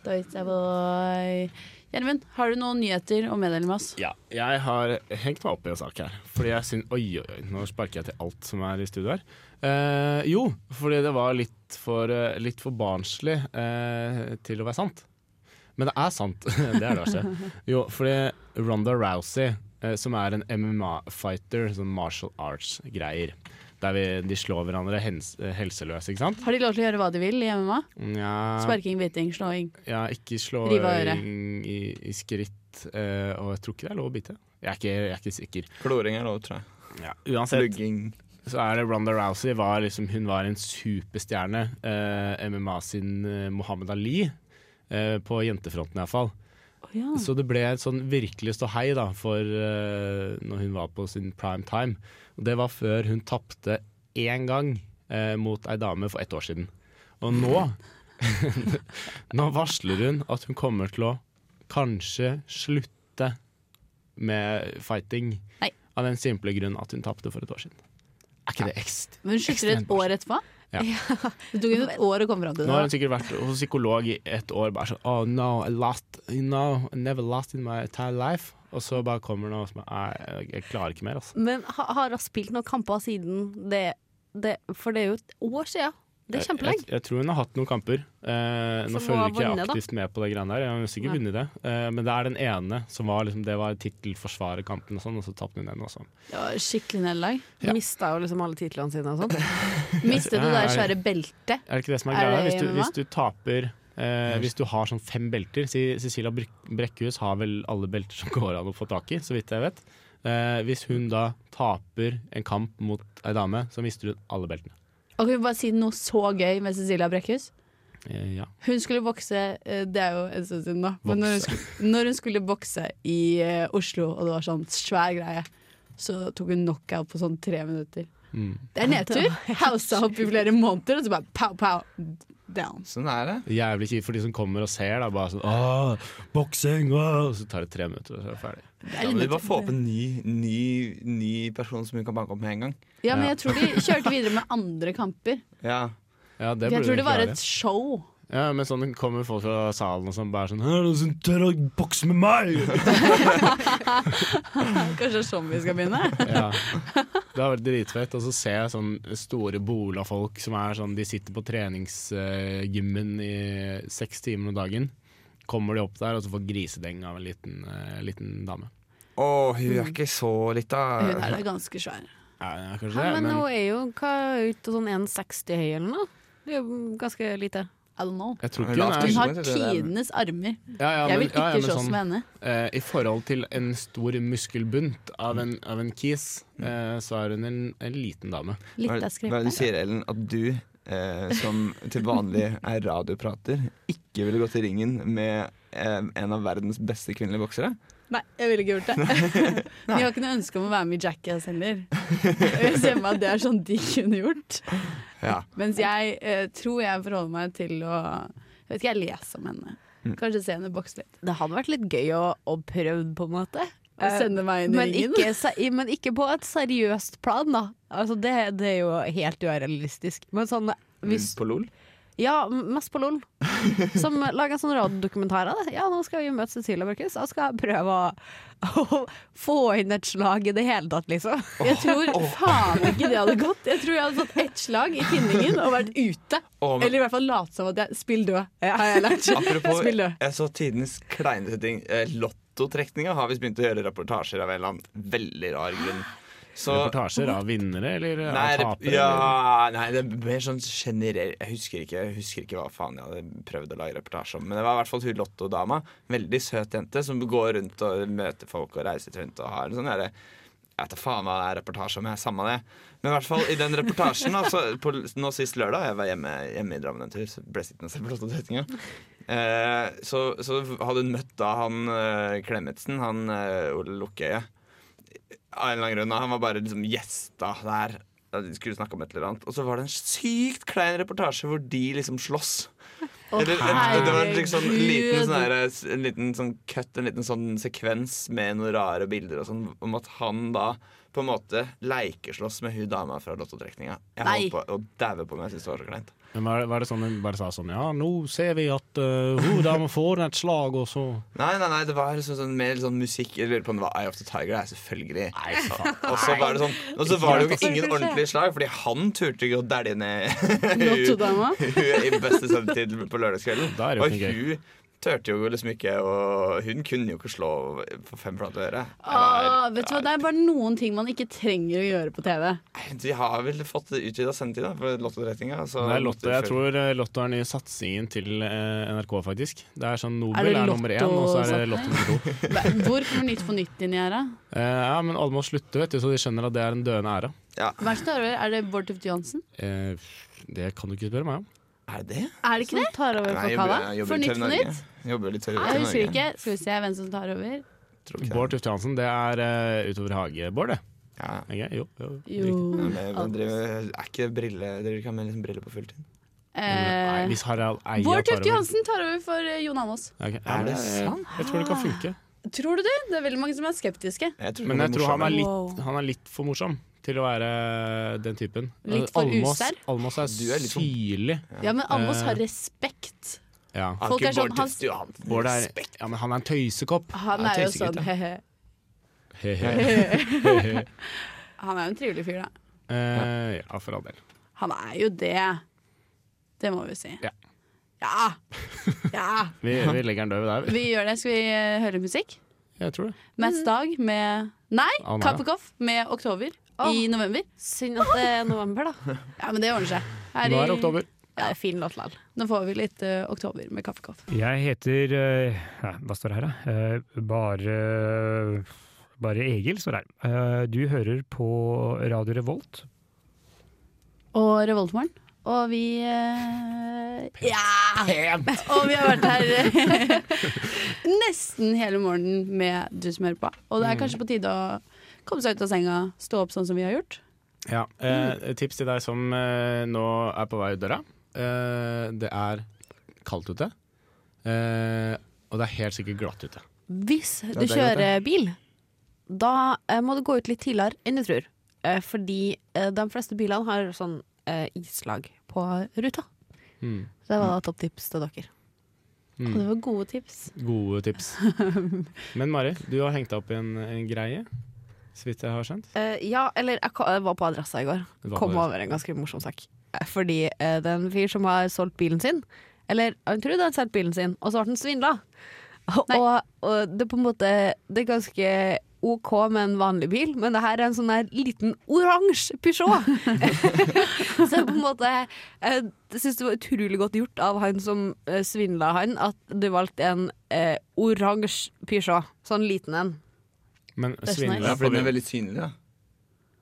Speaker 2: Toy Savoy. Gjermund, har du noen nyheter å meddele med oss?
Speaker 4: Ja, jeg har hengt meg opp i en sak her. Fordi jeg syns Oi, oi, oi, nå sparker jeg til alt som er i studio her. Eh, jo, fordi det var litt for, eh, litt for barnslig eh, til å være sant. Men det er sant. det er det verste. Jo, fordi Ronda Rousey, eh, som er en MMA-fighter, sånn martial arts-greier Der vi, de slår hverandre hens, helseløse, ikke sant?
Speaker 2: Har de lov til å gjøre hva de vil i MMA?
Speaker 4: Nja.
Speaker 2: Sparking, biting, slåing.
Speaker 4: Ja, ikke slå
Speaker 2: Rive av øret.
Speaker 4: i, i, i skritt, eh, og jeg tror ikke det er lov å bite. Jeg er ikke, jeg er ikke sikker.
Speaker 1: Kloring er lov, tror jeg.
Speaker 4: Uansett
Speaker 1: Plugging.
Speaker 4: så er det Ronda Rousey var liksom, Hun var en superstjerne. Eh, MMA sin eh, Muhammad Ali. Eh, på jentefronten iallfall.
Speaker 2: ja.
Speaker 4: Så det ble et sånn virkelig ståhei da, for eh, når hun var på sin prime time. Og det var før hun tapte én gang eh, mot ei dame for ett år siden. Og nå Nå varsler hun at hun kommer til å kanskje slutte med fighting.
Speaker 2: Nei.
Speaker 4: Av den simple grunn at hun tapte for et år siden. Er ikke det ekst?
Speaker 2: Men slutter det et år etterpå?
Speaker 4: Ja.
Speaker 2: Det tok et år å komme fram til
Speaker 4: Nå har hun
Speaker 2: det. da.
Speaker 4: sikkert vært hos psykolog i et år bare sånn Oh no, I lost, you know, I never lost in my entire life. Og så bare kommer noe som er "Nei, Jeg jeg klarer ikke mer, altså.
Speaker 3: Men ha, har hun spilt noen kamper siden det, det For det er jo et år siden. Det er
Speaker 4: Jeg,
Speaker 3: kjempelenge.
Speaker 4: jeg, jeg tror hun har hatt noen kamper. Eh,
Speaker 3: Som
Speaker 4: nå
Speaker 3: hun
Speaker 4: følger
Speaker 3: har
Speaker 4: ikke jeg
Speaker 3: vunnet, da.
Speaker 4: aktivt med på det greiene der. Jeg har sikkert
Speaker 3: Nei.
Speaker 4: vunnet det. Eh, men det er den ene som var liksom, Det var tittelforsvarerkampen og sånn, og så tapte hun den også.
Speaker 2: Det var skikkelig nederlag.
Speaker 4: Ja.
Speaker 3: Mista jo liksom alle titlene sine og sånn.
Speaker 2: Mistet det
Speaker 4: Ja,
Speaker 2: der
Speaker 4: er-
Speaker 2: svære beltet.
Speaker 4: Er det ikke det som er,
Speaker 2: Er
Speaker 4: greia?
Speaker 2: det
Speaker 4: Hvis du,
Speaker 2: MMA?
Speaker 4: hvis du taper eh, Hvis du har sånn fem belter Si- Cecilia Brek- Brekkhus har vel alle belter som går an å få tak i, så vidt jeg vet. Eh, hvis hun da taper en kamp mot ei dame, så mister hun alle beltene.
Speaker 2: Og kan vi bare si noe så gøy med Cecilia Brekkhus?
Speaker 4: Eh, ja.
Speaker 2: Hun skulle bokse eh, Det er jo en stund siden nå. Men når hun,
Speaker 4: Vokse.
Speaker 2: skulle, når hun skulle bokse i eh, Oslo, og det var sånn svær greie, så tok hun knockout på sånn tre minutter.
Speaker 4: Mm.
Speaker 2: Det er nedtur. Hausa opp i flere måneder, og så bare pow, pow, down.
Speaker 1: Sånn er det.
Speaker 4: Jævlig kjipt for de som kommer og ser. Da, bare sånn Åh, boksing! Åh! Så tar det tre minutter, og så er det ferdig.
Speaker 1: Da må du bare få opp en ny, ny, ny person som hun kan banke opp med en gang.
Speaker 2: Ja, men jeg tror de kjørte videre med andre kamper.
Speaker 1: Ja.
Speaker 4: Ja, det
Speaker 2: Jeg tror
Speaker 4: burde
Speaker 2: det
Speaker 4: egentlig
Speaker 2: var
Speaker 4: være.
Speaker 2: et show.
Speaker 4: Ja, men sånn kommer folk fra salen og sånn bare sånn «Hæ, er det sånn tør å bokse med meg!
Speaker 2: Kanskje sånn vi skal begynne?
Speaker 4: ja. Det har vært dritfett. Og så ser jeg sånn store bola-folk som er sånn De sitter på treningsgymmen i seks timer om dagen. Kommer de opp der, og så får grisedeng av en liten, eh, liten dame.
Speaker 1: Å, hun er ikke så lita.
Speaker 2: Mm. Hun er da ganske svær.
Speaker 4: Ja, ja, kanskje
Speaker 3: Ja,
Speaker 4: det,
Speaker 3: men
Speaker 4: men
Speaker 3: hun er jo hva, ut sånn 1,60 høy eller noe. Det er jo ganske lite.
Speaker 2: I don't know.
Speaker 4: jeg tror
Speaker 1: Hun
Speaker 4: ikke
Speaker 1: er
Speaker 4: hun er
Speaker 2: Hun
Speaker 1: Hun
Speaker 2: har
Speaker 1: tror det er-
Speaker 2: tidenes armer.
Speaker 4: ja, ja,
Speaker 2: Jeg
Speaker 4: men-
Speaker 2: vil
Speaker 4: ja, ja,
Speaker 2: ikke
Speaker 4: men
Speaker 2: slåss
Speaker 4: sånn-
Speaker 2: med henne.
Speaker 4: Eh, I forhold til en stor muskelbunt av en, av en kis, eh, så er hun en, en liten dame.
Speaker 1: Hva
Speaker 3: Litt
Speaker 1: er
Speaker 3: av
Speaker 1: hva er det du sier, Ellen? At du, eh, som til vanlig er radioprater, ikke ville gått i ringen med eh, en av verdens beste kvinnelige boksere?
Speaker 2: Nei, jeg ville ikke gjort det. Men jeg har ikke noe ønske om å være med i Jackass heller. Jeg ser meg at det er sånn de kunne gjort.
Speaker 1: Ja.
Speaker 2: Mens jeg eh, tror jeg forholder meg til å Jeg vet ikke, jeg leser om henne.
Speaker 1: Mm.
Speaker 2: Kanskje se henne bokse litt.
Speaker 3: Det hadde vært litt gøy å, å prøve, på en måte.
Speaker 2: Og
Speaker 3: Eh,
Speaker 2: sende meg inn i
Speaker 3: Men
Speaker 2: ringen.
Speaker 3: ikke, se- men ikke på et seriøst plan, da. Altså, det, det er jo helt urealistisk. Men sånn hvis,
Speaker 1: På LOL?
Speaker 3: Ja, m- mest på LOL. Som lager en sånn radiodokumentar av det. Ja, nå skal vi møte Cecilia Børkhus. Jeg skal jeg prøve å, å få inn et slag i det hele tatt, liksom.
Speaker 2: Jeg tror faen ikke det hadde gått. Jeg tror jeg hadde fått ett slag i tinningen og vært ute.
Speaker 1: Å, men-
Speaker 2: Eller i hvert fall late som at jeg Spill død, har jeg lært.
Speaker 1: Apropos,
Speaker 2: Spill død.
Speaker 1: jeg så tidenes kleineste ting. Eh, Lottotrekninga har visst begynt å gjøre reportasjer av en eller annen veldig rar grunn. Så
Speaker 4: Reportasjer av vinnere eller av
Speaker 1: Nei, rep-
Speaker 4: tapere? eller-
Speaker 1: ja, nei, det er mer sånn generell Jeg husker ikke, jeg husker ikke hva faen jeg hadde prøvd å lage reportasje om. Men det var i hvert fall hun Lotto-dama. Veldig søt jente som går rundt og møter folk og reiser rundt og har en sånn derre jeg vet da faen hva det er reportasje om, jeg er samme det. Men i hvert fall i den reportasjen, altså, på, nå sist lørdag, jeg var hjemme, hjemme i Drammen en tur, så ble jeg sittende og se på Lottotrekninga. Eh, så, så hadde hun møtt da han eh, Klemetsen, han eh, Ole Lukkøye av en eller annen grunn. da. Han var bare liksom gjesta der. Da De skulle snakke om et eller annet. Og så var det en sykt klein reportasje hvor de liksom slåss. Eller, et- det var liksom en liten, sånn der, en liten sånn cut, en liten sånn sekvens med noen rare bilder og sånn, om at han da på en måte leikeslåss med hun dama fra lottotrekninga. Jeg
Speaker 2: Nei.
Speaker 1: holdt på å daue på meg. Jeg syntes det var så kleint.
Speaker 4: Men var, det- var det sånn hun bare sa sånn Ja, nå ser vi at uh, hun dame får et slag, og så
Speaker 1: Nei, nei, nei, det var liksom sånn, mer sånn musikk Jeg lurer på om det var Eye of the Tiger, det er selvfølgelig. Og så var det sånn Og så var det jo ikke ingen ordentlige slag, fordi han turte ikke å dælje ned
Speaker 2: Lottodama.
Speaker 1: hun i beste sendetid på lørdagskvelden.
Speaker 4: Da er det jo
Speaker 1: Og
Speaker 4: ikke
Speaker 1: hun turte jo liksom ikke å Hun kunne jo ikke slå på fem flate øre.
Speaker 2: Åh, Ah, vet du hva, Det er bare noen ting man ikke trenger å gjøre på TV.
Speaker 1: Nei, De har vel fått utvida sendetid da, for Lottoretninga.
Speaker 4: Det er Lotto. Jeg tror eh, Lotto er den nye satsingen til eh, NRK, faktisk. Det er sånn
Speaker 2: Er
Speaker 4: Nobel
Speaker 2: det sånn?
Speaker 4: er, nummer én, og så er det Lotto nummer to.
Speaker 2: Hvor kommer Nytt på Nytt inn i her, da?
Speaker 4: Eh, ja, men alle må slutte, vet du, så de skjønner at det er en døende æra.
Speaker 2: Verst er det, er det Bård Tufte Johansen?
Speaker 4: Eh, det kan du ikke spørre meg om.
Speaker 1: Er det det?
Speaker 2: Er det ikke det? Tar over
Speaker 1: Nei, jeg jobber, jeg jobber
Speaker 2: For
Speaker 1: i
Speaker 2: Nytt
Speaker 1: TV
Speaker 2: på
Speaker 1: Norge.
Speaker 2: Nytt?
Speaker 1: Jeg jobber litt i TV
Speaker 2: Jeg husker
Speaker 1: Norge.
Speaker 2: ikke. Skal vi se hvem som tar over.
Speaker 1: Tror ikke det.
Speaker 4: Bård Tufte Hansen, det er eh, utover Hage-Bård, det.
Speaker 1: Ja.
Speaker 4: Ikke? Jo, jo,
Speaker 2: Jo
Speaker 4: riktig.
Speaker 1: Ja, men jeg driver, er ikke brille, driver ikke han med liksom briller på fulltid?
Speaker 4: Nei,
Speaker 2: eh,
Speaker 4: hvis Harald Eia
Speaker 2: Bård
Speaker 4: tar
Speaker 2: Tufte
Speaker 4: over-
Speaker 2: Johansen tar over for eh, Jon Almaas.
Speaker 4: Ok,
Speaker 1: Er
Speaker 4: ja, men
Speaker 1: det
Speaker 4: jeg-
Speaker 1: sant?
Speaker 4: Jeg tror det kan funke.
Speaker 2: Tror du det? Det er veldig mange som er skeptiske.
Speaker 1: Jeg tror
Speaker 4: Men jeg tror han er
Speaker 1: morsommere.
Speaker 4: litt, han er litt for morsom til å være den typen.
Speaker 2: Litt for
Speaker 4: Almås,
Speaker 2: usær?
Speaker 4: Almås er,
Speaker 1: Du er litt for-
Speaker 4: syrlig.
Speaker 2: Ja, men Almaas har
Speaker 4: Eh.
Speaker 2: respekt.
Speaker 4: Ja.
Speaker 1: Har
Speaker 2: folk
Speaker 1: ikke
Speaker 2: er sånn,
Speaker 1: Bård
Speaker 2: han-
Speaker 1: Tufte Johansen
Speaker 4: Bård er,
Speaker 1: respekt?
Speaker 4: ja, men han er en tøysekopp.
Speaker 2: Han
Speaker 1: Ja,
Speaker 2: er jo
Speaker 1: tøysegutt,
Speaker 2: sånn
Speaker 1: ja.
Speaker 2: he-he.
Speaker 4: He-he.
Speaker 2: Han er jo en trivelig fyr, da.
Speaker 4: Eh, ja, for all del.
Speaker 2: Han er jo det. Det må vi si.
Speaker 4: Ja.
Speaker 2: Ja! ja.
Speaker 4: Vi, vi legger den død der. vi.
Speaker 2: Vi gjør det. Skal vi eh, høre musikk?
Speaker 4: Jeg tror det.
Speaker 2: Mats Dag med Nei,
Speaker 4: Anna.
Speaker 2: Kappekoff med Oktober i november.
Speaker 3: Synd at det er november, da.
Speaker 2: Ja, men det ordner seg. Her
Speaker 4: Nå er det
Speaker 2: i-
Speaker 4: oktober.
Speaker 3: Ja, fin låt likevel.
Speaker 2: Nå får vi litt eh, Oktober med Kaffekoff.
Speaker 9: Jeg heter eh, nei, Hva står det her, da? Eh, Bare Bare Egil står det her. Eh, Du hører på Radio Revolt.
Speaker 2: Og Revoltmorgen. Og vi eh, Ja! Og vi har vært her eh, nesten hele morgenen med du som hører på. Og
Speaker 4: Mm.
Speaker 2: det er kanskje på tide å komme seg ut av senga, stå opp sånn som vi har gjort.
Speaker 4: Ja.
Speaker 2: Mm.
Speaker 4: Eh, tips til deg som eh, nå er på vei ut døra. Eh, det er kaldt ute, eh, og det er helt sikkert glatt ute.
Speaker 3: Hvis du
Speaker 1: det er godt,
Speaker 3: kjører bil, da eh, må du gå ut litt tidligere enn du tror. Eh, fordi eh, de fleste bilene har sånn eh, islag på ruta.
Speaker 4: Mm.
Speaker 3: Så det var da topptips til dere.
Speaker 4: Mm.
Speaker 2: Og det var gode tips.
Speaker 4: Gode tips. Men Mari, du har hengt deg opp i en, en greie, så vidt jeg har skjønt.
Speaker 3: Eh, ja, eller jeg ka- jeg var på adressa i går.
Speaker 4: Du var på
Speaker 3: Kom
Speaker 4: adressa.
Speaker 3: over en ganske morsom sak. Eh, Fordi eh, det er en fyr som har solgt bilen sin. Eller han trodde han hadde solgt bilen sin, og så ble han svindla. Og, og det er på en måte Det er ganske OK med en vanlig bil, men det her er en sånn her liten oransje Peugeot. så det er på en måte eh, Jeg syns det var utrolig godt gjort av han som eh, svindla han, at du valgte en eh, oransje Peugeot. Sånn liten en.
Speaker 4: Men
Speaker 2: er så
Speaker 4: svindler
Speaker 1: Ja,
Speaker 4: jeg
Speaker 1: fordi den er
Speaker 4: for
Speaker 1: veldig synlig, da.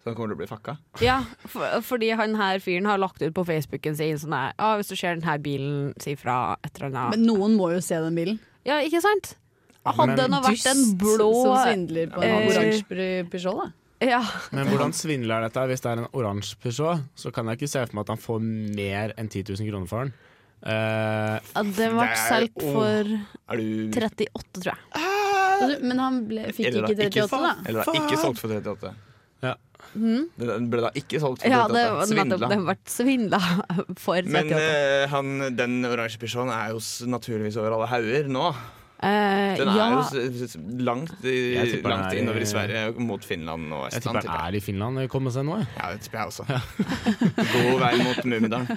Speaker 1: Så han kommer til å bli fakka.
Speaker 3: Ja, for, fordi han her fyren har lagt ut på Facebooken sin sånn her ah, 'Hvis du ser denne bilen, si fra et eller annet'.
Speaker 2: Men noen må jo se den bilen.
Speaker 3: ja, ikke sant?
Speaker 4: men
Speaker 3: Hadde den vært en blå
Speaker 2: Som svindler på en
Speaker 3: Eh,
Speaker 2: oransje Pe- Peugeot, da.
Speaker 3: Ja,
Speaker 4: Men hvordan svindler er dette? Hvis det er en oransje Peugeot, så kan jeg ikke se for meg at han får mer enn 10 000 kroner for den. Eh,
Speaker 3: at den ble
Speaker 1: Det er-
Speaker 3: solgt
Speaker 1: åh.
Speaker 3: for
Speaker 1: Er du Ah!
Speaker 3: 38, tror jeg.
Speaker 2: Altså, Men han ble, fikk
Speaker 1: Eller da,
Speaker 2: ikke 38, da.
Speaker 1: Eller da, ikke solgt for 38.
Speaker 4: Ja.
Speaker 1: Den den ble da ikke solgt for
Speaker 3: Hmm? Ja,
Speaker 1: 38.
Speaker 3: det, var nettopp,
Speaker 1: Svindla.
Speaker 3: den ble svindla for 38.
Speaker 1: Men eh, han, den oransje Peugeoten er jo s- naturligvis over alle hauger nå.
Speaker 3: Eh,
Speaker 1: Den er
Speaker 3: ja,
Speaker 1: jo s- s- langt, i-
Speaker 4: Jeg tipper den
Speaker 1: langt
Speaker 4: er i-
Speaker 1: innover i Sverige, og mot Finland og Estland.
Speaker 4: jeg tipper han
Speaker 1: tipper jeg.
Speaker 4: er i Finland og kommer seg nå. jeg.
Speaker 1: Ja, det tipper jeg også. God vei mot Mummidalen.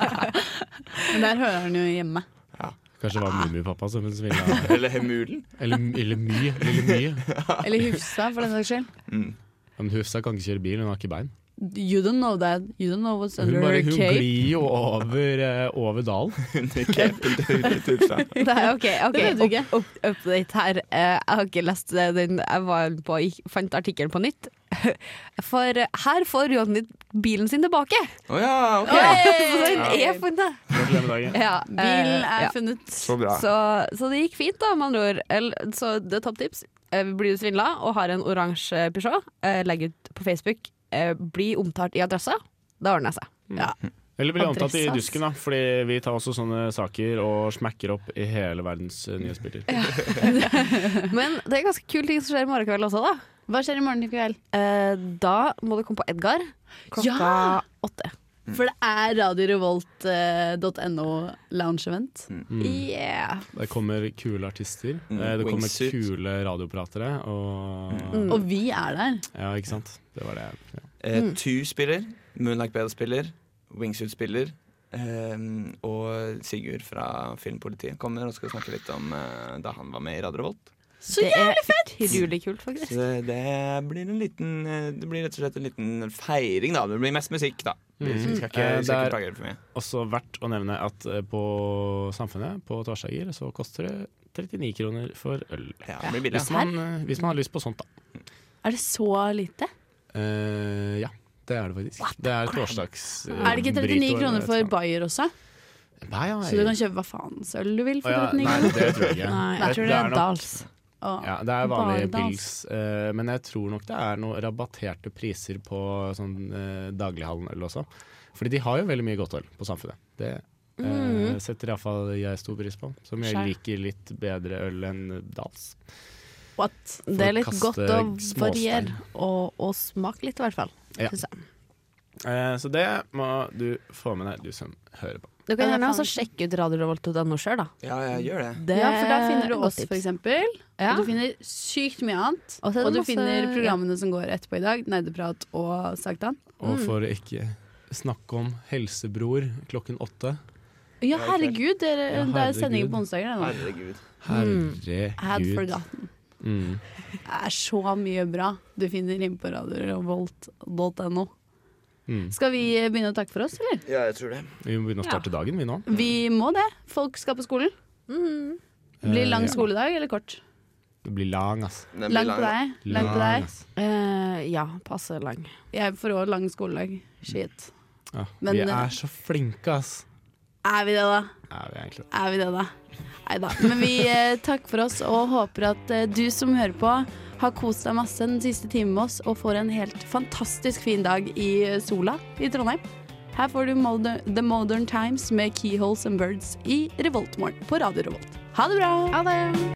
Speaker 2: Men der hører han jo hjemme.
Speaker 4: Kanskje det var Mummipappa som svindla.
Speaker 1: Eller Hemulen.
Speaker 4: Eller, eller My. Lille My.
Speaker 2: Eller Hufsa, for den saks skyld.
Speaker 4: Men Hufsa kan ikke kjøre bil, hun har ikke bein.
Speaker 2: You don't know that. You don't know what's
Speaker 4: Hun,
Speaker 2: under
Speaker 4: bare,
Speaker 2: her
Speaker 4: hun
Speaker 2: cape.
Speaker 4: glir jo over, eh, over dalen.
Speaker 1: Under capen til Hurtigtusa.
Speaker 3: det er OK. ok,
Speaker 2: Det vet du ikke.
Speaker 3: Up, up, update her. Eh, jeg har ikke lest eh, den jeg var på, jeg fant artikkelen på nytt. For eh, her får Jonny bilen sin tilbake!
Speaker 1: Å ja, ok.
Speaker 3: Så den er funnet.
Speaker 4: Gratulerer med dagen.
Speaker 3: Ja,
Speaker 2: Bilen
Speaker 3: eh,
Speaker 2: er
Speaker 3: ja.
Speaker 2: funnet.
Speaker 1: Så bra.
Speaker 3: Så, så det gikk fint, da, med andre ord. El- Så det er topptips. Eh, Blir du svindla og har en oransje Peugeot, eh, legg ut på Facebook. Eh, Bli omtalt i adressa. Det ordner seg.
Speaker 4: Eller blir omtalt i
Speaker 2: Adressa, ass.
Speaker 4: dusken, da. Fordi vi tar også sånne saker og smekker opp i hele verdens eh, nyhetsbilder.
Speaker 3: Men det er ganske kule ting som skjer i morgen kveld også, da.
Speaker 2: Hva skjer i morgen i kveld?
Speaker 3: Eh, Da må du komme på Edgar klokka
Speaker 2: Ja!
Speaker 3: åtte.
Speaker 4: Mm.
Speaker 2: For det er eh, radiorevolt.no lounge event.
Speaker 3: Mm. Yeah.
Speaker 4: Mm. Det kommer kule artister,
Speaker 1: Mm,
Speaker 4: eh, det kommer
Speaker 1: wingsuit.
Speaker 4: kule radiopratere, og
Speaker 3: Mm.
Speaker 2: Og vi er der.
Speaker 4: Ja, ikke sant? Det var det. jeg- Ja.
Speaker 1: Eh, Tu spiller, Moonlight Bell spiller, Wingsuit spiller. eh, og Sigurd fra Filmpolitiet kommer og skal snakke litt om eh, da han var med i Radio Revolt.
Speaker 2: Så
Speaker 3: det er utrolig kult, faktisk.
Speaker 1: Så det, det blir en liten eh, Det blir rett og slett en liten feiring, da. Det blir mest musikk, da. Vi vi skal ikke,
Speaker 4: Eh,
Speaker 1: vi skal
Speaker 4: det er-
Speaker 1: ikke plage dere for mye.
Speaker 4: Også verdt å nevne at eh, på Samfunnet, på Tversager, så koster det 39 kroner for øl.
Speaker 1: Ja, det blir billig.
Speaker 4: Hvis man, eh, hvis man har lyst på sånt, da.
Speaker 2: Er det så lite?
Speaker 4: Eh, ja, det er det faktisk. det er torsdags... eh,
Speaker 2: Er det ikke 39
Speaker 4: burrito,
Speaker 2: kroner
Speaker 4: eller
Speaker 2: for
Speaker 4: et eller
Speaker 2: Bayer også?
Speaker 4: annet. Nei, ja,
Speaker 2: Så du kan kjøpe hva faens øl du vil
Speaker 4: Å
Speaker 2: for
Speaker 4: ja,
Speaker 2: 39
Speaker 4: Nei,
Speaker 2: kroner?
Speaker 4: det tror jeg ikke.
Speaker 3: Nei,
Speaker 4: Det-
Speaker 3: jeg tror det
Speaker 4: det er
Speaker 3: er
Speaker 4: nok-
Speaker 3: Dals.
Speaker 2: Å,
Speaker 4: Ja, det er vanlige
Speaker 2: Bare dans.
Speaker 4: pils, eh, men jeg tror nok det er noen rabatterte priser på sånn, eh, daglighandel også. Fordi de har jo veldig mye godt øl på Samfunnet. Det eh, setter iallfall jeg stor pris på, som jeg
Speaker 2: Mhm. Skjær.
Speaker 4: liker litt bedre øl enn Dals.
Speaker 2: What?
Speaker 3: Det er
Speaker 4: å
Speaker 3: litt
Speaker 4: kaste
Speaker 3: godt å
Speaker 4: småstein.
Speaker 3: variere og, og smake litt, i hvert fall.
Speaker 4: Ja.
Speaker 3: synes jeg.
Speaker 4: Eh, så det må du få med deg, du som hører på.
Speaker 3: Du
Speaker 2: Ja,
Speaker 3: kan
Speaker 2: det er
Speaker 3: gjerne også
Speaker 2: faen-
Speaker 3: sjekke altså, ut radiorevolt.no sjøl, da.
Speaker 1: Ja, jeg gjør det.
Speaker 3: Det
Speaker 2: Ja, for da finner
Speaker 3: er
Speaker 2: du
Speaker 3: godt
Speaker 2: oss,
Speaker 3: tips.
Speaker 2: for eksempel.
Speaker 3: Ja.
Speaker 2: Og du finner sykt mye annet.
Speaker 3: Og
Speaker 2: Og,
Speaker 3: så er det
Speaker 2: du
Speaker 3: masse-
Speaker 2: finner programmene som går etterpå i dag. Nerdeprat og Sagtan.
Speaker 4: Og for ikke snakke om helsebror klokken åtte.
Speaker 2: Ja, herregud, dere,
Speaker 4: Ja,
Speaker 2: det er sendinger
Speaker 4: herregud.
Speaker 2: på onsdager. det nå.
Speaker 1: Herregud.
Speaker 2: I had
Speaker 4: Herregud.
Speaker 2: forgotten.
Speaker 4: Mm.
Speaker 2: Det er så mye bra du finner inne på radiorevolt.no.
Speaker 4: Mm.
Speaker 2: Skal vi begynne å takke for oss, eller?
Speaker 1: Ja, jeg tror det.
Speaker 4: Vi må begynne å starte dagen, vi nå.
Speaker 2: Vi må det. Folk skal på skolen. Blir
Speaker 4: Eh,
Speaker 2: lang
Speaker 4: ja.
Speaker 2: skoledag eller kort?
Speaker 4: Det blir lang, ass.
Speaker 1: Den blir
Speaker 2: Lang på
Speaker 1: lang.
Speaker 2: deg. Lang på deg.
Speaker 4: ass.
Speaker 3: Eh, ja, passe lang.
Speaker 2: Jeg får òg lang skoledag. Shit.
Speaker 4: Ja,
Speaker 2: Men,
Speaker 4: vi
Speaker 2: eh,
Speaker 4: er så flinke, ass.
Speaker 2: Er vi det, da?
Speaker 4: Er vi egentlig det?
Speaker 2: Er vi det, da? Nei da. Men vi eh, takker for oss og håper at eh, du som hører på, har kost deg masse den siste timen med oss og får en helt fantastisk fin dag i eh, sola i Trondheim. Her får du Moder The Modern Times med Keyholes and Birds i Revoltmorgen på Radio Revolt. Ha det bra!
Speaker 3: Ha det!